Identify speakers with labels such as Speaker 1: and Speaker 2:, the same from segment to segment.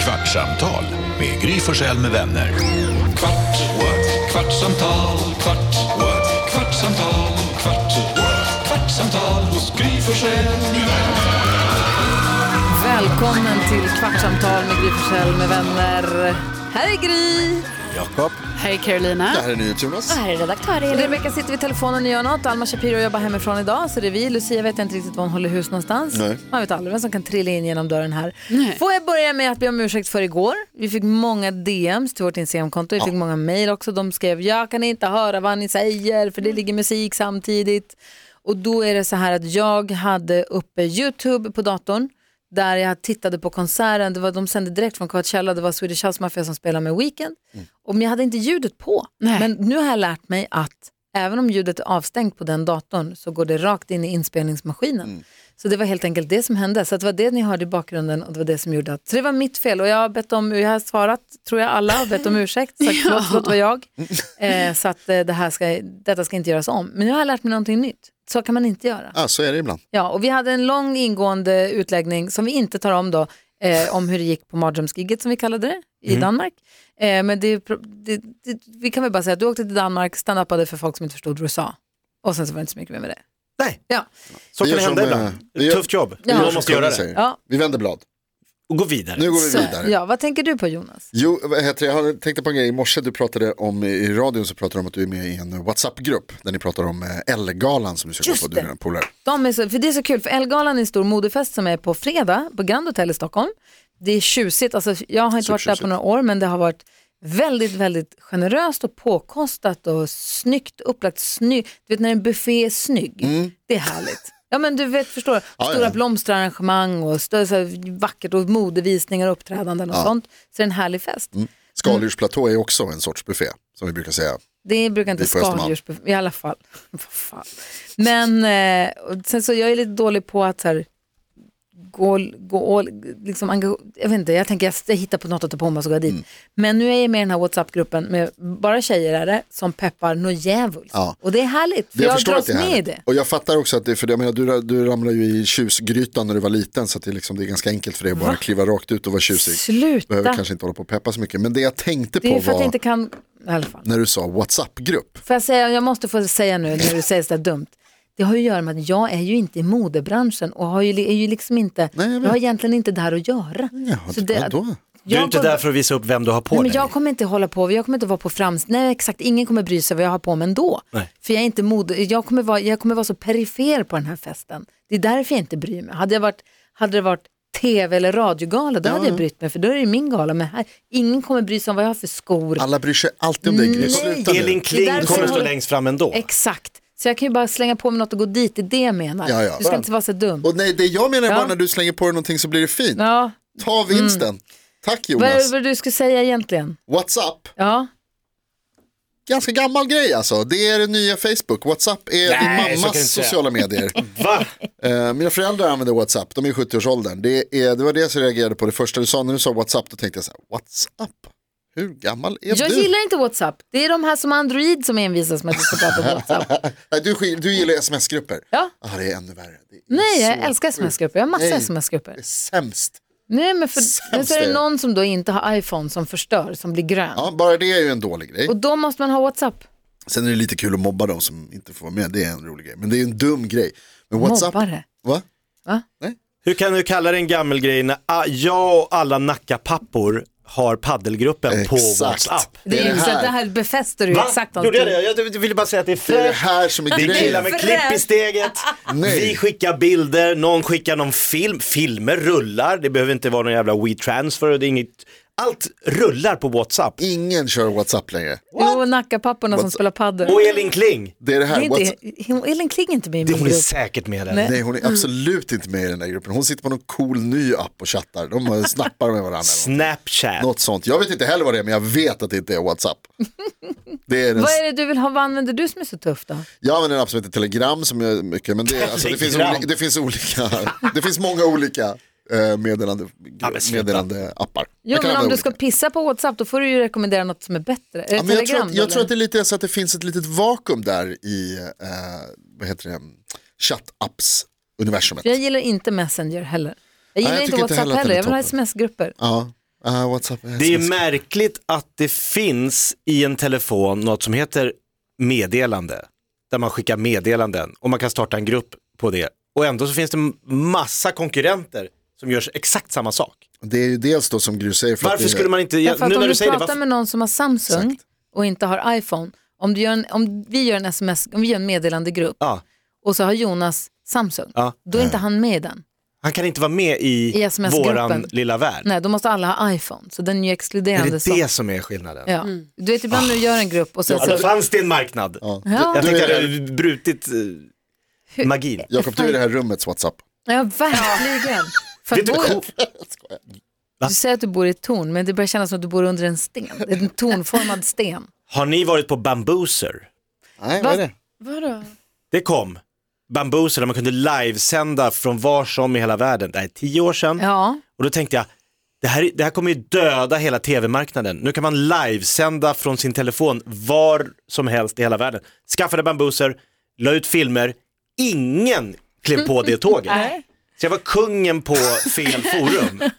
Speaker 1: Kvartsamtal med Gry Forssell med vänner. Kvart, what? kvartsamtal, kvart, what? kvartsamtal, kvart, what? kvartsamtal hos Gry Forssell med vänner.
Speaker 2: Välkommen till Kvartsamtal med Gry Forssell med vänner. Här är Gry.
Speaker 3: Jakob.
Speaker 4: Hej Carolina.
Speaker 3: Det här är NyhetsJonas.
Speaker 5: här är redaktör
Speaker 2: Rebecka sitter vid telefonen och gör något. Alma Shapiro jobbar hemifrån idag, så det är vi. Lucia vet inte riktigt var hon håller hus någonstans.
Speaker 3: Nej.
Speaker 2: Man vet aldrig vem som kan trilla in genom dörren här.
Speaker 4: Nej.
Speaker 2: Får jag börja med att be om ursäkt för igår. Vi fick många DMs till vårt Instagramkonto. Vi fick många mejl också. De skrev, jag kan inte höra vad ni säger för det ligger musik samtidigt. Och då är det så här att jag hade uppe YouTube på datorn där jag tittade på konserten. Det var, de sände direkt från Coachella. Det var Swedish House Mafia som spelade med Weekend. Och men jag hade inte ljudet på.
Speaker 4: Nej.
Speaker 2: Men nu har jag lärt mig att även om ljudet är avstängt på den datorn så går det rakt in i inspelningsmaskinen. Så det var helt enkelt det som hände. Så att det var det ni hörde i bakgrunden och det var det som gjorde att... Så det var mitt fel och jag har bett om, jag har svarat, tror jag alla, och bett om ursäkt. Sagt förlåt, förlåt det var jag. Eh, så att eh, det här ska, detta ska inte göras om. Men nu har jag lärt mig någonting nytt. Så kan man inte göra.
Speaker 3: Ja, så är det ibland.
Speaker 2: Ja, och vi hade en lång ingående utläggning som vi inte tar om då, eh, om hur det gick på mardrömsgiget som vi kallade det i
Speaker 3: Mm.
Speaker 2: Danmark. Eh, men det, är pro- det, det, vi kan väl bara säga att du åkte till Danmark, stand-upade för folk som inte förstod vad du sa. Och sen så var det inte så mycket mer med det.
Speaker 6: Nej,
Speaker 2: Ja,
Speaker 6: så
Speaker 3: Vi
Speaker 6: kan det
Speaker 3: gör
Speaker 6: hända
Speaker 3: som,
Speaker 6: ibland.
Speaker 3: eh, vi gör-
Speaker 6: Tufft jobb,
Speaker 2: Ja.
Speaker 6: men
Speaker 2: gör
Speaker 6: man måste göra det.
Speaker 3: Säger.
Speaker 2: Ja.
Speaker 3: Vi vänder blad.
Speaker 6: Och gå vidare.
Speaker 3: Nu går vi
Speaker 2: så,
Speaker 3: vidare.
Speaker 2: ja, vad tänker du på Jonas?
Speaker 3: Jo, vad heter det? jag hade- tänkte på en grej i morse. Du pratade om i radion så pratade du om att du är med i en WhatsApp-grupp där ni pratar om eh, Ellegalan som du ska
Speaker 2: Just
Speaker 3: gå på.
Speaker 2: det.
Speaker 3: Du är en polare.
Speaker 2: De är så, för det är så kul, för Ellegalan är en stor modefest som är på fredag på Grand Hotel i Stockholm. Det är tjusigt, alltså, jag har inte varit där på
Speaker 3: Supertjusigt.
Speaker 2: några år men det har varit väldigt, väldigt generöst och påkostat och snyggt upplagt. Sny, du vet när en buffé är snygg, det är härligt. Ja men du vet, förstår du?
Speaker 3: Mm. Ja,
Speaker 2: Stora
Speaker 3: ja.
Speaker 2: blomsterarrangemang och stö, så här, vackert och modevisningar och uppträdanden och sånt. Så det är en härlig fest.
Speaker 3: Mm. Skaldjursplatå är också en sorts buffé som vi brukar säga.
Speaker 2: Det brukar inte
Speaker 3: Det är på Östermalm.
Speaker 2: skaldjurs... I alla fall. Vad fan. Men eh, och sen så jag är lite dålig på att så här, gå, gå all, liksom, engage- jag vet inte, jag tänker jag hittar på något att ta på mig och så går jag
Speaker 3: Mm.
Speaker 2: dit. Men nu är jag med i den här WhatsApp-gruppen med bara tjejer är det, som peppar något djävulskt.
Speaker 3: Ja.
Speaker 2: Och det är härligt, för
Speaker 3: Det-
Speaker 2: jag,
Speaker 3: förstår
Speaker 2: dras
Speaker 3: att är
Speaker 2: med i
Speaker 3: härligt.
Speaker 2: det.
Speaker 3: Och jag fattar också att det, för det, jag menar, du, ra- du ramlade ju i tjusgrytan när du var liten så att det, är liksom, det är ganska enkelt för dig att bara kliva rakt ut och vara tjusig. Behöver
Speaker 2: Sluta,
Speaker 3: kanske inte hålla på och peppa så mycket. Men det jag tänkte
Speaker 2: det är
Speaker 3: på
Speaker 2: för att
Speaker 3: var
Speaker 2: jag inte kan... I alla fall.
Speaker 3: när du sa WhatsApp-grupp.
Speaker 2: Får jag, säga, jag måste få säga nu när du säger sådär dumt. Det har ju att göra med att jag är ju inte i modebranschen och har ju, är ju liksom inte,
Speaker 3: Nej, jag
Speaker 2: jag,
Speaker 3: vet.
Speaker 2: har egentligen inte där att göra.
Speaker 3: Ja,
Speaker 2: Så
Speaker 3: det,
Speaker 2: det-
Speaker 3: vadå?
Speaker 6: Du är inte
Speaker 2: kommer-
Speaker 6: där för att visa upp vem du har på
Speaker 2: Nej,
Speaker 6: dig.
Speaker 2: men jag kommer inte hålla på, jag kommer inte vara på frams... Nej exakt, ingen kommer bry sig vad jag har på mig ändå.
Speaker 6: Nej.
Speaker 2: För jag är inte mode, jag kommer, vara, jag kommer vara så perifer på den här festen. Det är därför jag inte bryr mig. Hade, jag varit, hade det varit tv eller radiogala då hade jag brytt mig för då är det min gala. Men här, ingen kommer bry sig om vad jag har för skor.
Speaker 3: Alla bryr sig alltid om dig. Gry. Sluta nu.
Speaker 6: Elin
Speaker 2: Det är
Speaker 6: Kling
Speaker 2: därför
Speaker 6: kommer
Speaker 2: jag
Speaker 6: stå
Speaker 2: håller-
Speaker 6: längst fram ändå.
Speaker 2: Exakt, så jag kan ju bara slänga på mig något och gå dit, det är det jag menar.
Speaker 3: Ja, ja.
Speaker 2: Du ska inte vara så dum.
Speaker 3: Och nej, det jag menar är
Speaker 2: Ja.
Speaker 3: bara när du slänger på dig någonting så blir det fint.
Speaker 2: Ja.
Speaker 3: Ta vinsten. Tack
Speaker 2: Vad
Speaker 3: Jonas.
Speaker 2: är vad du skulle säga egentligen?
Speaker 3: WhatsApp,
Speaker 2: Ja.
Speaker 3: ganska gammal grej alltså. Det är det nya Facebook. WhatsApp är
Speaker 6: Nej, så kan
Speaker 3: min
Speaker 6: jag inte
Speaker 3: mammas
Speaker 6: säga.
Speaker 3: sociala medier.
Speaker 6: Va?
Speaker 3: Eh, mina föräldrar använder WhatsApp, de är i 70-årsåldern. Det, är, det var det jag reagerade på det första du sa. När du sa WhatsApp, då tänkte jag så här, WhatsApp? Hur gammal är
Speaker 2: Jag
Speaker 3: du?
Speaker 2: gillar inte WhatsApp. Det är de här som Android som envisas med att vi ska prata om WhatsApp.
Speaker 3: Nej, du, skil- du gillar sms-grupper?
Speaker 2: Ja.
Speaker 3: Ah, det är ännu värre. Det är
Speaker 2: Nej,
Speaker 3: så
Speaker 2: jag älskar
Speaker 3: sjukt.
Speaker 2: sms-grupper. Jag har massa
Speaker 3: Nej.
Speaker 2: sms-grupper.
Speaker 3: Det är sämst.
Speaker 2: Nej, men för,
Speaker 3: Sämst
Speaker 2: men så är
Speaker 3: är
Speaker 2: det
Speaker 3: det.
Speaker 2: någon som då inte har iPhone som förstör, som blir grön.
Speaker 3: Ja, bara det är ju en dålig grej.
Speaker 2: Och då måste man ha WhatsApp.
Speaker 3: Sen är det lite kul att mobba de som inte får vara med, det är en rolig grej. Men det är en dum grej. Men WhatsApp,
Speaker 2: Mobbare.
Speaker 3: Va?
Speaker 6: Hur kan du kalla det en gammal grej när ah, jag och alla Nackapappor har paddelgruppen på
Speaker 3: Exakt.
Speaker 6: WhatsApp?
Speaker 2: Det, är
Speaker 3: Det är
Speaker 2: ju
Speaker 3: det
Speaker 2: så
Speaker 3: här.
Speaker 2: att det här befäster du ju exakt
Speaker 6: Gjorde jag det? Jag jag ville bara säga att det är
Speaker 3: Det är det
Speaker 6: fräscht.
Speaker 3: här som är
Speaker 6: Det är killar
Speaker 3: grejen.
Speaker 6: med klipp i steget,
Speaker 3: Nej.
Speaker 6: vi skickar bilder, någon skickar någon film, filmer rullar, det behöver inte vara någon jävla WeTransfer, och det är inget, allt rullar på WhatsApp.
Speaker 3: Ingen kör WhatsApp längre.
Speaker 2: Jo, Nackapapporna som
Speaker 3: What's-
Speaker 2: spelar padel.
Speaker 6: Och Elin Kling,
Speaker 3: Det är
Speaker 2: Det
Speaker 3: det
Speaker 2: Mm.
Speaker 3: här.
Speaker 2: är
Speaker 3: WhatsApp...
Speaker 2: inte, hon- Elin Kling är inte med i
Speaker 6: det
Speaker 2: min
Speaker 6: hon är
Speaker 2: grupp.
Speaker 6: säkert med den.
Speaker 2: Nej.
Speaker 3: Nej, hon är absolut inte med i den där gruppen. Hon sitter på någon cool ny app och chattar. De bara snappar med varandra.
Speaker 6: Snapchat.
Speaker 3: Något sånt. Jag vet inte heller vad det är, men jag vet att det inte är WhatsApp. Det är den...
Speaker 2: Vad är det du vill ha? Vad använder du som är så tufft då?
Speaker 3: Jag använder en app som heter Telegram som jag mycket, men det, alltså, det, finns,
Speaker 6: Telegram.
Speaker 3: oli... det finns olika, det finns många olika eh, meddelande,
Speaker 6: Ja, men sluta.
Speaker 3: meddelande appar.
Speaker 2: Jo, men om du ska pissa på WhatsApp då får du ju rekommendera något som är bättre. Är det
Speaker 3: Ja, men jag, tror
Speaker 2: Telegram
Speaker 3: att,
Speaker 2: då,
Speaker 3: jag tror att
Speaker 2: eller?
Speaker 3: det är lite så att det finns ett litet vakuum där i eh, vad heter det? chattapps-universumet.
Speaker 2: För jag gillar inte Messenger heller. Jag
Speaker 3: Nej,
Speaker 2: gillar
Speaker 3: jag
Speaker 2: inte
Speaker 3: tycker inte
Speaker 2: WhatsApp
Speaker 3: heller att
Speaker 2: heller.
Speaker 3: den är
Speaker 2: Jag vill ha
Speaker 3: toppen.
Speaker 2: sms-grupper.
Speaker 3: Ja. Ah, WhatsApp.
Speaker 6: Det är märkligt att det finns i en telefon något som heter meddelande. Där man skickar meddelanden och man kan starta en grupp på det. Och ändå så finns det massa konkurrenter som gör exakt samma sak.
Speaker 3: det är ju dels då som Gry säger. För att
Speaker 6: Varför
Speaker 3: det,
Speaker 6: skulle man inte,
Speaker 2: Därför
Speaker 6: nu
Speaker 2: att om
Speaker 6: när
Speaker 2: du
Speaker 6: du säger det,
Speaker 2: pratar
Speaker 6: varför,
Speaker 2: med någon som har Samsung och inte har iPhone, om, du gör en, om vi gör en sms, om vi gör en meddelandegrupp
Speaker 6: ja,
Speaker 2: och så har Jonas Samsung,
Speaker 6: Ja.
Speaker 2: då är inte han med i den.
Speaker 6: han kan inte vara med i,
Speaker 2: I SMS-gruppen.
Speaker 6: våran lilla värld.
Speaker 2: Nej, då måste alla ha iPhone, så den är ju
Speaker 6: Är
Speaker 2: exkluderande.
Speaker 6: det
Speaker 2: som-
Speaker 6: det som är skillnaden?
Speaker 2: Ja. Du vet ibland när du gör en grupp och sen
Speaker 6: Alltså,
Speaker 2: så...
Speaker 6: fanns det en marknad?
Speaker 2: Ja,
Speaker 6: Jag tänkte att jag hade brutit eh, magin.
Speaker 3: Jakob, du är det här rummets WhatsApp.
Speaker 2: ja verkligen. För att
Speaker 6: Vet du,
Speaker 2: bo,
Speaker 6: cool-
Speaker 2: du säger att du bor i ett torn, men det börjar kännas som att du bor under en sten. En tornformad sten.
Speaker 6: har ni varit på Bambooser?
Speaker 3: Nej, vad är det?
Speaker 4: Vadå?
Speaker 6: Det kom. Bambooser där man kunde livesända från var som i hela världen. Det här är tio år sedan.
Speaker 2: Ja,
Speaker 6: Och då tänkte jag, det här, det här kommer ju döda hela tv-marknaden. Nu kan man livesända från sin telefon var som helst i hela världen. Skaffade Bambooser, la ut filmer, ingen klev på det tåget. Så jag var kungen på fel forum.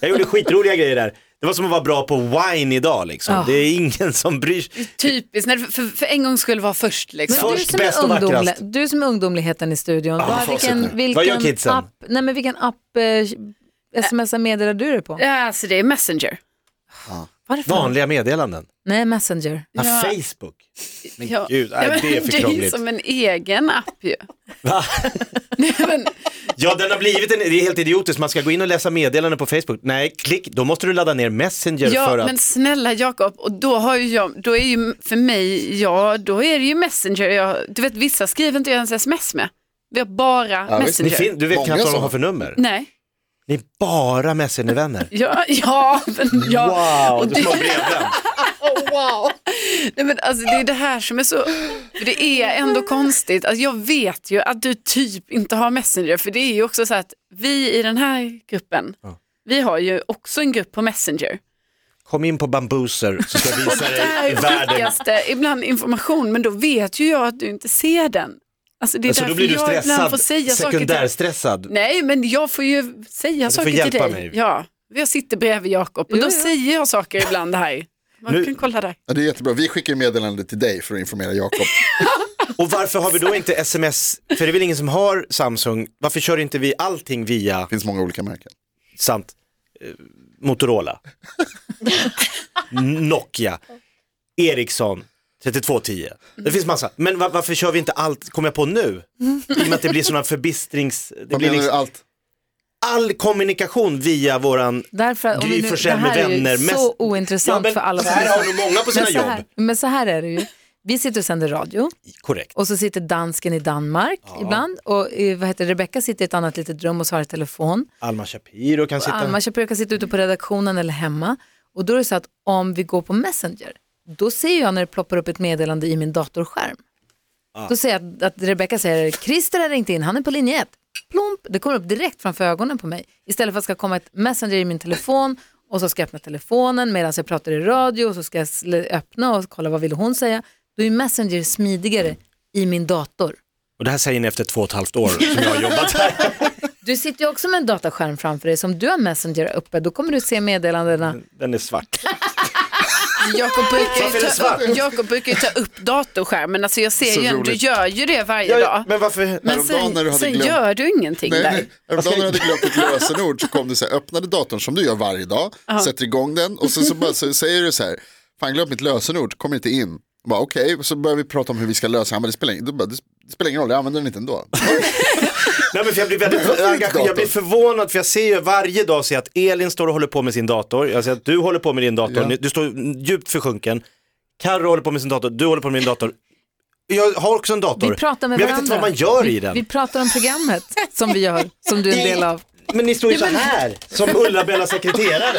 Speaker 6: Jag gjorde skitroliga grejer där. Det var som att vara bra på wine idag liksom. Det är ingen som bryr sig.
Speaker 4: Typiskt, när, för, för en gång skulle vara först liksom.
Speaker 6: Så-
Speaker 2: men du
Speaker 6: Först,
Speaker 2: som, är
Speaker 6: bäst och vackrast.
Speaker 2: ungdomle- du som är ungdomligheten i studion, vad,
Speaker 3: facit nu.
Speaker 2: vilken, vilken
Speaker 6: Vad gör kidsen?
Speaker 2: app, nej men vilken app eh, smsar meddelar du dig på?
Speaker 6: Eh,
Speaker 4: Ja, Alltså det är Messenger.
Speaker 2: Vad är det för något?
Speaker 6: Vanliga meddelanden.
Speaker 2: Nej, Messenger.
Speaker 6: Ja. Facebook. Men
Speaker 4: Ja.
Speaker 6: gud, nej,
Speaker 4: Ja, men
Speaker 6: det är för
Speaker 4: Det är
Speaker 6: krångligt.
Speaker 4: som en egen app ju.
Speaker 6: Va?
Speaker 4: Nej, men,
Speaker 6: Ja, den har blivit en, det är helt idiotiskt. Man ska gå in och läsa meddelanden på Facebook. Nej, klick, då måste du ladda ner Messenger
Speaker 4: ja,
Speaker 6: för att...
Speaker 4: men snälla Jakob, och då har ju jag, då är ju för mig, ja då är det ju Messenger. Jag, du vet vissa skriver inte jag ens sms med. Vi har bara
Speaker 3: visst.
Speaker 6: Ni
Speaker 4: Messenger.
Speaker 6: fin, du vet
Speaker 3: Många
Speaker 6: knappt vad de
Speaker 3: sådana.
Speaker 6: har för nummer.
Speaker 4: Nej,
Speaker 6: Ni är bara Messenger-vänner.
Speaker 4: ja, ja, men, ja.
Speaker 6: Wow,
Speaker 4: och
Speaker 6: du
Speaker 4: det,
Speaker 6: slår brevvän.
Speaker 4: nej, men, alltså, det är det här som är så, för det är ändå konstigt. Alltså, jag vet ju att du typ inte har Messenger, för det är ju också så att vi i den här gruppen, vi har ju också en grupp på Messenger.
Speaker 6: Kom in på Bambooser så ska jag visa dig
Speaker 4: Där
Speaker 6: världen.
Speaker 4: skickas det ibland information, men då vet ju jag att du inte ser den. Alltså det är
Speaker 6: Så då
Speaker 4: därför
Speaker 6: blir du
Speaker 4: jag ibland får
Speaker 6: stressad,
Speaker 4: säga saker till...
Speaker 6: sekundärstressad.
Speaker 4: Nej, men jag får ju säga
Speaker 6: får
Speaker 4: saker till
Speaker 6: hjälpa
Speaker 4: dig.
Speaker 6: mig.
Speaker 4: Ja, jag sitter bredvid Jakob och
Speaker 2: Jo,
Speaker 4: då
Speaker 2: jo.
Speaker 4: säger jag saker ibland här. Man
Speaker 6: Nu-
Speaker 4: kan kolla där.
Speaker 3: Ja, det är jättebra. Vi skickar meddelande till dig för att informera Jakob.
Speaker 6: Och varför har vi då inte sms, för det är väl ingen som har Samsung, varför kör inte vi allting via,
Speaker 3: Det finns många olika märken.
Speaker 6: sant, eh, Motorola, Nokia, Ericsson, 3210. Det finns massa, men va- varför kör vi inte allt, kommer jag på nu? I och med att det blir sådana förbistrings, det
Speaker 3: Vad
Speaker 6: blir
Speaker 3: menar du?
Speaker 6: liksom
Speaker 3: Allt?
Speaker 6: all kommunikation via våran,
Speaker 2: Därför att, om vi
Speaker 6: Gry
Speaker 2: nu, det
Speaker 6: Forssell med
Speaker 2: här är ju
Speaker 6: vänner,
Speaker 2: så
Speaker 6: mest-
Speaker 2: ointressant för alla
Speaker 6: så
Speaker 2: som
Speaker 6: här
Speaker 2: lyssnar.
Speaker 6: har nog många på
Speaker 2: men
Speaker 6: sina
Speaker 2: så, här,
Speaker 6: jobb.
Speaker 2: men så här är det ju. Vi sitter och sänder radio
Speaker 6: Korrekt.
Speaker 2: och så sitter dansken i Danmark ibland och eh, vad heter det, Rebecca sitter i ett annat litet rum och svarar i telefon.
Speaker 6: Alma Shapiro kan sitta,
Speaker 2: Alma brukar sitta ute på redaktionen eller hemma och då är det så att om vi går på Messenger då ser jag när det ploppar upp ett meddelande i min datorskärm. Då ser jag att, att Rebecca säger Christer har ringt in, han är på linje 1. Plump, det kommer upp direkt framför ögonen på mig. Istället för att det ska komma ett Messenger i min telefon och så ska jag öppna telefonen medan jag pratar i radio och så ska jag sl- öppna och kolla vad vill hon säga. Då är Messenger smidigare i min dator.
Speaker 6: och det här säger ni efter två och ett halvt år som jag har jobbat här.
Speaker 2: Du sitter ju också med en dataskärm framför dig. Så om du har Messenger uppe, då kommer du se meddelandena.
Speaker 6: Den är svart.
Speaker 4: Jakob
Speaker 6: Varför
Speaker 4: brukar,
Speaker 6: är
Speaker 4: ju
Speaker 6: det
Speaker 4: ta,
Speaker 6: svart?
Speaker 4: Jakob brukar ju ta upp datorskärmen, alltså jag ser
Speaker 3: Så
Speaker 4: ju, en- du
Speaker 3: roligt.
Speaker 4: gör ju det varje
Speaker 6: Ja,
Speaker 4: dag.
Speaker 6: ja, men varför?
Speaker 4: Men
Speaker 3: Häromdagen
Speaker 4: sen,
Speaker 3: när du hade
Speaker 4: sen
Speaker 3: glömt-
Speaker 4: gör du ingenting
Speaker 3: Nej,
Speaker 4: där.
Speaker 3: nej. Häromdagen när jag hade glömt ett lösenord så kom du så här, öppnade datorn som du gör varje dag, sätter igång den och sen så, bara, så säger du så här, fan glöm mitt lösenord, kommer inte in. Jag bara, Okej, Och så börjar vi prata om hur vi ska lösa det. Han bara, det spelar ingen, du bara, det spelar ingen roll, jag använder den inte ändå.
Speaker 6: Nej, men för jag blir väldigt engagerad, jag blir förvånad för jag ser ju varje dag ser jag att Elin står och håller på med sin dator, jag ser att du håller på med din dator, Ni- du står djupt försjunken, Carro håller på med sin dator, du håller på med din dator. Jag har också en dator,
Speaker 2: Vi pratar med
Speaker 6: men jag
Speaker 2: varandra.
Speaker 6: vet inte vad man gör
Speaker 2: vi,
Speaker 6: i den.
Speaker 2: Vi pratar om programmet som vi gör, som du är en del av.
Speaker 6: Men ni står ju så här, som Ulla-Bella sekreterare.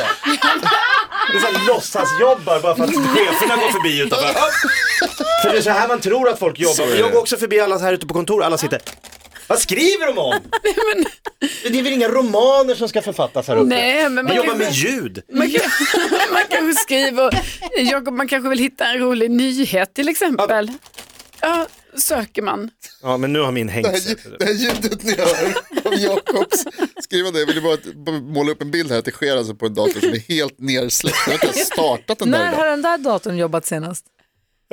Speaker 6: Det är så här låtsasjobbar bara för att cheferna går förbi utanför. För det är så här man tror att folk jobbar. Jag går också förbi alla här ute på kontor, alla sitter. Vad skriver de om? Det är väl inga romaner som ska författas här uppe?
Speaker 4: Nej, men man
Speaker 6: man jobbar
Speaker 4: kan-
Speaker 6: med ljud.
Speaker 4: Man, kan, man kanske skriver, Jakob, man kanske vill hitta en rolig nyhet till exempel. Ja, söker man.
Speaker 6: Ja, men nu har min hängt
Speaker 3: Det här,
Speaker 6: sig.
Speaker 3: ljud- det här ljudet ni hör av Jakobs beskriva det, jag ville bara att- måla upp en bild här att det sker alltså på en dator som är helt nersläckt. Jag har inte ens startat den där
Speaker 2: När har
Speaker 3: idag.
Speaker 2: den där datorn jobbat senast?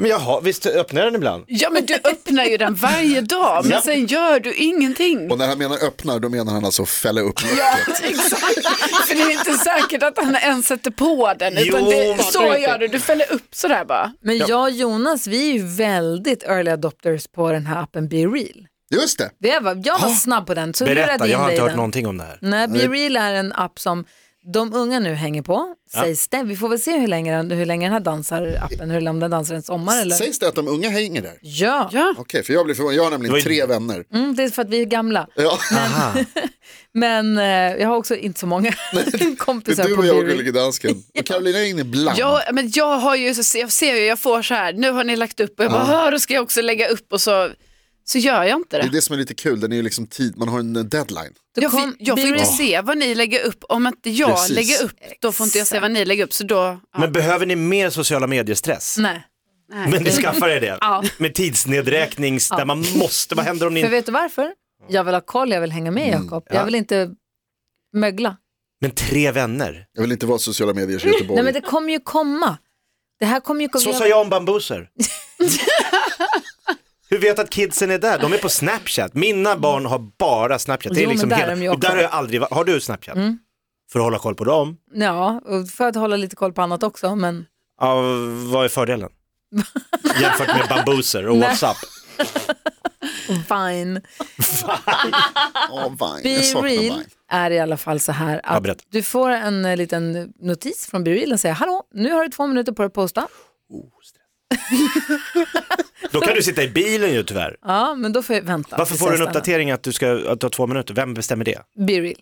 Speaker 6: Men jaha, visst öppnar jag den ibland?
Speaker 4: Ja men du öppnar ju den varje dag men
Speaker 6: Ja.
Speaker 4: sen gör du ingenting.
Speaker 3: Och när han menar öppnar, då menar han alltså fälla upp
Speaker 4: Ja, exakt. För det är inte säkert att han ens sätter på den. Utan
Speaker 6: Jo,
Speaker 4: det, så
Speaker 6: absolut.
Speaker 4: gör du, du fäller upp sådär bara.
Speaker 2: Men jag och Jonas, vi är ju väldigt early adopters på den här appen Be Real.
Speaker 3: Just det,
Speaker 2: Det var, jag var snabb på den, så lurade
Speaker 6: Berätta,
Speaker 2: in
Speaker 6: jag har
Speaker 2: dig i
Speaker 6: inte hört
Speaker 2: den.
Speaker 6: någonting om det här.
Speaker 2: Nej, Be Real är en app som de unga nu hänger på, sägs det. Vi får väl se hur länge, den- hur länge den här dansar appen, hur länge om den dansar en sommar eller?
Speaker 3: sägs det att de unga hänger där? Okej,
Speaker 2: Ja,
Speaker 4: Ja.
Speaker 3: för jag blir förvånad, jag har
Speaker 6: Det var
Speaker 3: nämligen
Speaker 6: ju-
Speaker 3: tre vänner.
Speaker 2: Mm, det är för att vi är gamla.
Speaker 3: Ja.
Speaker 6: Aha.
Speaker 2: Men eh, jag har också inte så många
Speaker 3: Det
Speaker 2: kompisar
Speaker 3: är du
Speaker 2: på
Speaker 3: och jag och
Speaker 2: Be
Speaker 3: Gullige
Speaker 2: Real.
Speaker 3: Dansken. Och Carolina är inne bland.
Speaker 4: Jag, men jag har ju, så, jag ser ju, jag får så här, nu har ni lagt upp och jag bara, "Ah, då ska jag också lägga upp och så, så gör jag inte
Speaker 3: Det är
Speaker 4: det.
Speaker 3: det som är lite kul, den är ju liksom tid, man har en eh, deadline.
Speaker 2: Du
Speaker 4: Jag,
Speaker 2: kom-
Speaker 4: får- jag får
Speaker 2: Be
Speaker 4: inte
Speaker 2: Real-
Speaker 4: se vad ni lägger upp, om inte jag
Speaker 3: Precis.
Speaker 4: lägger upp, då får inte jag se vad ni lägger upp. Så då, ja.
Speaker 6: Men behöver ni mer sociala mediestress?
Speaker 2: Nej,
Speaker 6: Men ni
Speaker 2: Mm.
Speaker 6: skaffar er det?
Speaker 4: Ja.
Speaker 6: Med tidsnedräkning där man måste, vad händer om ni
Speaker 2: för
Speaker 6: inte...
Speaker 2: vet du varför? Jag vill ha koll, jag vill hänga med
Speaker 6: Mm,
Speaker 2: Jakob. Jag vill inte mögla.
Speaker 6: Men tre vänner?
Speaker 3: Jag vill inte vara sociala medier i Göteborg.
Speaker 2: Nej men det kommer ju komma. Det här kommer ju komma.
Speaker 6: Så sa jag om bambuser. Hur vet att kidsen är där? De är på Snapchat. Mina barn har bara Snapchat. Det är
Speaker 2: Jo, men
Speaker 6: liksom
Speaker 2: där
Speaker 6: hela...
Speaker 2: är de ju
Speaker 6: Och där
Speaker 2: också. Mm.
Speaker 6: har jag aldrig varit. Har du Snapchat? För att hålla koll på dem?
Speaker 2: Ja, och för att hålla lite koll på annat också. Men
Speaker 6: Ja, vad är fördelen? Jämfört med bambuser och WhatsApp.
Speaker 2: fine.
Speaker 3: Ja, Vine.
Speaker 2: Be
Speaker 3: Jag saknar
Speaker 2: real
Speaker 3: Vine.
Speaker 2: är i alla fall så här
Speaker 6: Ja,
Speaker 2: att
Speaker 6: berätta.
Speaker 2: du får en eh, liten notis från Be real och säger hallå, nu har du två minuter på dig att posta.
Speaker 6: Då kan du sitta i bilen ju tyvärr.
Speaker 2: Ja, men då får jag vänta.
Speaker 6: Varför
Speaker 2: tills
Speaker 6: får du
Speaker 2: jag
Speaker 6: en
Speaker 2: stannar.
Speaker 6: uppdatering att du, ska, att du har två minuter? Vem bestämmer det?
Speaker 2: Be real.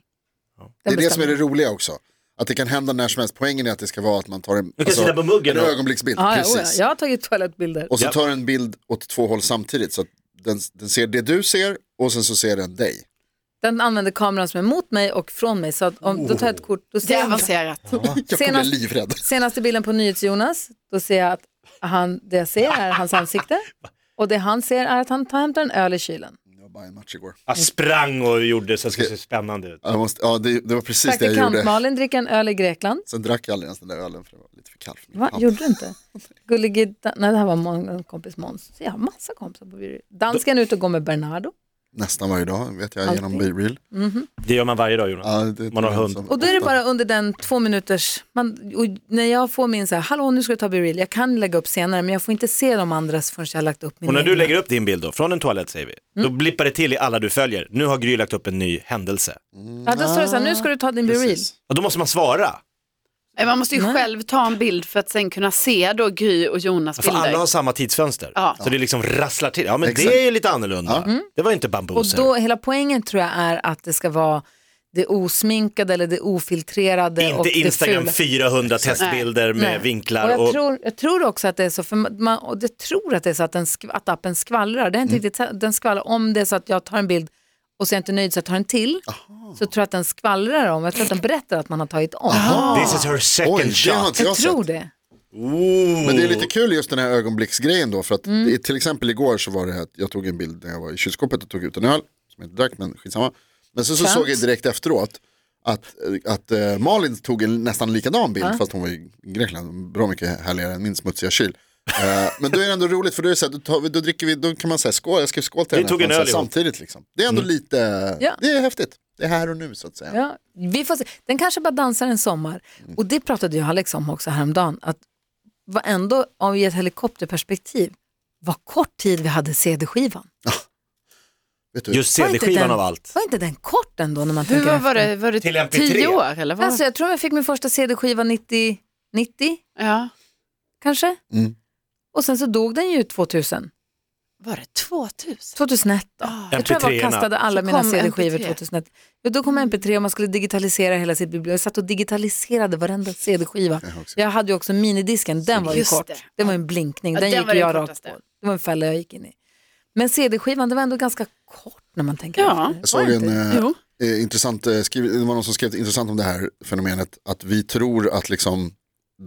Speaker 3: Det är det som är det roliga också. Att det kan hända när som helst. Poängen är att det ska vara att man tar en, alltså,
Speaker 6: kan sitta på muggen
Speaker 3: en
Speaker 6: och-
Speaker 3: ögonblicksbild.
Speaker 2: Ah, Ja, oh, ja, oja.
Speaker 3: precis.
Speaker 2: jag har tagit toalettbilder.
Speaker 3: Och så
Speaker 6: Ja.
Speaker 3: tar en bild åt två håll samtidigt. Så att den, den ser det du ser och sen så ser den dig.
Speaker 2: Den använder kameran som är mot mig och från mig. Så att om, då tar jag ett kort. Då
Speaker 4: det
Speaker 2: ser
Speaker 4: är
Speaker 2: jag,
Speaker 4: avancerat.
Speaker 3: Jag kommer
Speaker 2: Ah, Senast-
Speaker 3: bli livrädd.
Speaker 2: senaste bilden på NyhetsJonas, då ser jag att han, det jag ser är hans ansikte. Och det han ser är att han tar hämtar en öl i kylen.
Speaker 3: Jag var en match igår.
Speaker 2: Mm.
Speaker 6: Jag sprang och gjorde så att det skulle se spännande ut.
Speaker 3: Jag måste, ja, det, det var precis det jag gjorde.
Speaker 2: Praktikant-Malin dricker en öl i Grekland.
Speaker 3: Sen drack jag aldrig ens den där ölen för det var lite för kall för min
Speaker 2: Va?
Speaker 3: hand.
Speaker 2: Gjorde du inte? Gullige, Dan- nej det här var många- en kompis Måns. Så jag har massa kompisar på Birre. Dansken är ute och går med Bernardo.
Speaker 3: Nästan varje dag vet jag genom
Speaker 2: Alltid.
Speaker 3: B-reel.
Speaker 6: Det gör man varje dag Jonas.
Speaker 3: Ja, det-
Speaker 6: Man har hund.
Speaker 3: som-
Speaker 2: Och då är det bara under den två minuters, man, och när jag får min så här, hallå nu ska du ta Birreel, jag kan lägga upp senare men jag får inte se de andras förrän jag har lagt upp min
Speaker 6: Och när du
Speaker 2: egen.
Speaker 6: lägger upp din bild då, från en toalett säger vi,
Speaker 2: Mm.
Speaker 6: då blippar det till i alla du följer. Nu har Gry lagt upp en ny händelse.
Speaker 2: Ja, då står det så här, nu ska du ta din Birreel.
Speaker 3: Precis.
Speaker 6: Och då måste man svara.
Speaker 4: Nej, Man måste ju själv ta en bild för att sen kunna se då Gry och Jonas
Speaker 6: För alla har
Speaker 4: bilder.
Speaker 6: samma tidsfönster.
Speaker 4: Ja.
Speaker 6: Så det liksom rasslar till. Ja men
Speaker 3: Exakt.
Speaker 6: det är lite annorlunda. Det var inte
Speaker 2: Mm. Och
Speaker 6: bambuser.
Speaker 2: då, hela poängen tror jag är att det ska vara det osminkade eller det ofiltrerade och
Speaker 6: inte
Speaker 2: det
Speaker 6: Instagram
Speaker 2: fula.
Speaker 6: 400 testbilder med
Speaker 2: Nej.
Speaker 6: vinklar.
Speaker 2: Och jag,
Speaker 6: och-
Speaker 2: tror, jag tror också att det är så, för man, och det tror att det är så att, den skv, att appen skvallrar. Det är inte
Speaker 6: Mm.
Speaker 2: riktigt, den skvallrar om det är så att jag tar en bild och så är jag inte nöjd så jag tar en till. Så tror jag att den skvallrar om, jag tror att den berättar att man har tagit om.
Speaker 6: This is her second
Speaker 3: Oj, det har
Speaker 6: shot.
Speaker 3: inte
Speaker 2: Jag
Speaker 3: jag sett.
Speaker 2: tror det.
Speaker 3: Men det är lite kul just den här ögonblicksgrejen då. För att
Speaker 2: Mm.
Speaker 3: det- till exempel igår så var det att jag tog en bild när jag var i kylskåpet och tog ut en öl. Som jag inte drack men skitsamma. Men sen så,
Speaker 2: Skönt.
Speaker 3: såg jag direkt efteråt att, att eh, Malin tog en nästan likadan bild fast hon var i Grekland. Bra mycket härligare än min smutsiga kyl. Eh, men då är det ändå roligt för då, är det så här, då, tar vi, då dricker vi, då kan man säga skål, jag skrev skål till
Speaker 6: Vi
Speaker 3: henne.
Speaker 6: tog
Speaker 3: Man
Speaker 6: en
Speaker 3: säger
Speaker 6: öl ihop. Mm.
Speaker 3: samtidigt liksom. Det är ändå lite,
Speaker 2: Ja.
Speaker 3: det är häftigt. Det är här och nu så att säga.
Speaker 2: Ja, vi får se. Den kanske bara dansar en sommar.
Speaker 6: Mm.
Speaker 2: Och det pratade ju Alex om också häromdagen. Att var ändå, om i ett helikopterperspektiv, vad kort tid vi hade CD-skivan.
Speaker 3: Vet du?
Speaker 6: Just
Speaker 2: Var inte den-
Speaker 6: CD-skivan av allt.
Speaker 2: Var inte den kort ändå när man
Speaker 4: Hur
Speaker 2: tänker
Speaker 4: var,
Speaker 2: efter?
Speaker 4: var det? Var det
Speaker 6: Till MP3.
Speaker 4: tio år eller? Vad?
Speaker 2: Alltså, jag tror jag fick min första CD-skiva 90, 90
Speaker 4: ja.
Speaker 2: kanske.
Speaker 3: Mm.
Speaker 2: Och sen så dog den ju 2000.
Speaker 4: Var det 2000?
Speaker 2: 2001 då.
Speaker 4: Ah.
Speaker 2: Jag tror jag
Speaker 6: MP3-orna.
Speaker 2: bara kastade alla
Speaker 4: Så
Speaker 2: mina
Speaker 4: kom
Speaker 2: CD-skivor
Speaker 4: MP3.
Speaker 2: 2001. Ja, då kom
Speaker 4: Mm.
Speaker 2: MP3 och man skulle digitalisera hela sitt bibliotek. Jag satt och digitaliserade varenda CD-skiva. Jag hade ju också minidisken, den var ju
Speaker 4: Just
Speaker 2: kort.
Speaker 4: det.
Speaker 2: Det. var ju en blinkning,
Speaker 4: Ja,
Speaker 2: den,
Speaker 4: den var
Speaker 2: gick
Speaker 4: den
Speaker 2: jag rakt
Speaker 4: kortaste.
Speaker 2: på. Det var en fälla jag gick in i. Men CD-skivan, det var ändå ganska kort när man tänker
Speaker 4: Ja.
Speaker 2: efter.
Speaker 3: Jag
Speaker 2: Var
Speaker 3: såg
Speaker 2: det
Speaker 3: en
Speaker 2: inte?
Speaker 3: eh,
Speaker 4: Jo.
Speaker 3: eh, intressant, eh, skriv, det var någon som skrev intressant om det här fenomenet, att vi tror att liksom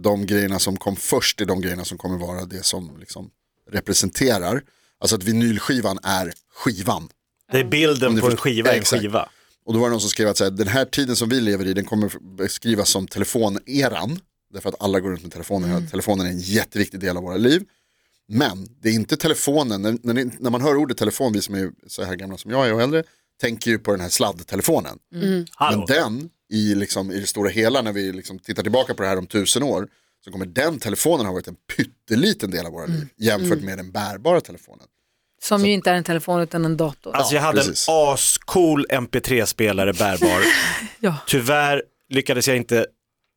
Speaker 3: de grejerna som kom först är de grejerna som kommer vara det som liksom representerar. Alltså att vinylskivan är skivan.
Speaker 6: Det är bilden på en skiva, är en
Speaker 3: Exakt.
Speaker 6: skiva.
Speaker 3: Och då var det någon som skrev att så här, den här tiden som vi lever i den kommer beskrivas som telefoneran. Därför att alla går runt med telefonen. Telefonen är en jätteviktig del av våra liv. Men det är inte telefonen, när, när, ni- när man hör ordet telefon, vi som är så här gamla som jag är och äldre, tänker ju på den här sladdtelefonen. Men
Speaker 6: Hallå.
Speaker 3: den, i, liksom, i det stora hela, när vi liksom tittar tillbaka på det här om tusen år, så kommer den telefonen ha varit en pytteliten del av våra liv jämfört med den bärbara telefonen.
Speaker 2: Som ju inte är en telefon utan en dator.
Speaker 6: Alltså jag hade
Speaker 3: precis.
Speaker 6: en ascool MP3-spelare bärbar.
Speaker 2: Ja.
Speaker 6: Tyvärr lyckades jag inte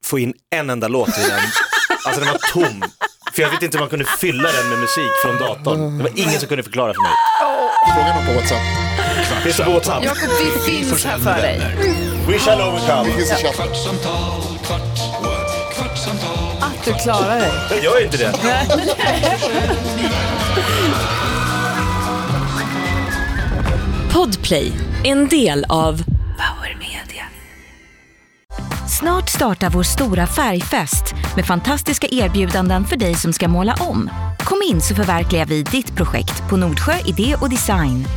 Speaker 6: få in en enda låt i den. Alltså den var tom. För jag vet inte om man kunde fylla den med musik från datorn. Det var ingen som kunde förklara för mig.
Speaker 3: Fråga någon på WhatsApp.
Speaker 6: Finns det på WhatsApp?
Speaker 4: Jakob, vi finns här för dig.
Speaker 6: We shall overcome.
Speaker 3: Det finns en chatt.
Speaker 1: Kvartsamtal, kvart, what? kvartsamtal,
Speaker 2: Att du klarar dig.
Speaker 6: Jag gör inte det.
Speaker 5: Podplay, en del av Power Media. Snart startar vår stora färgfest med fantastiska erbjudanden för dig som ska måla om. Kom in så förverkligar vi ditt projekt på Nordsjö Idé och Design.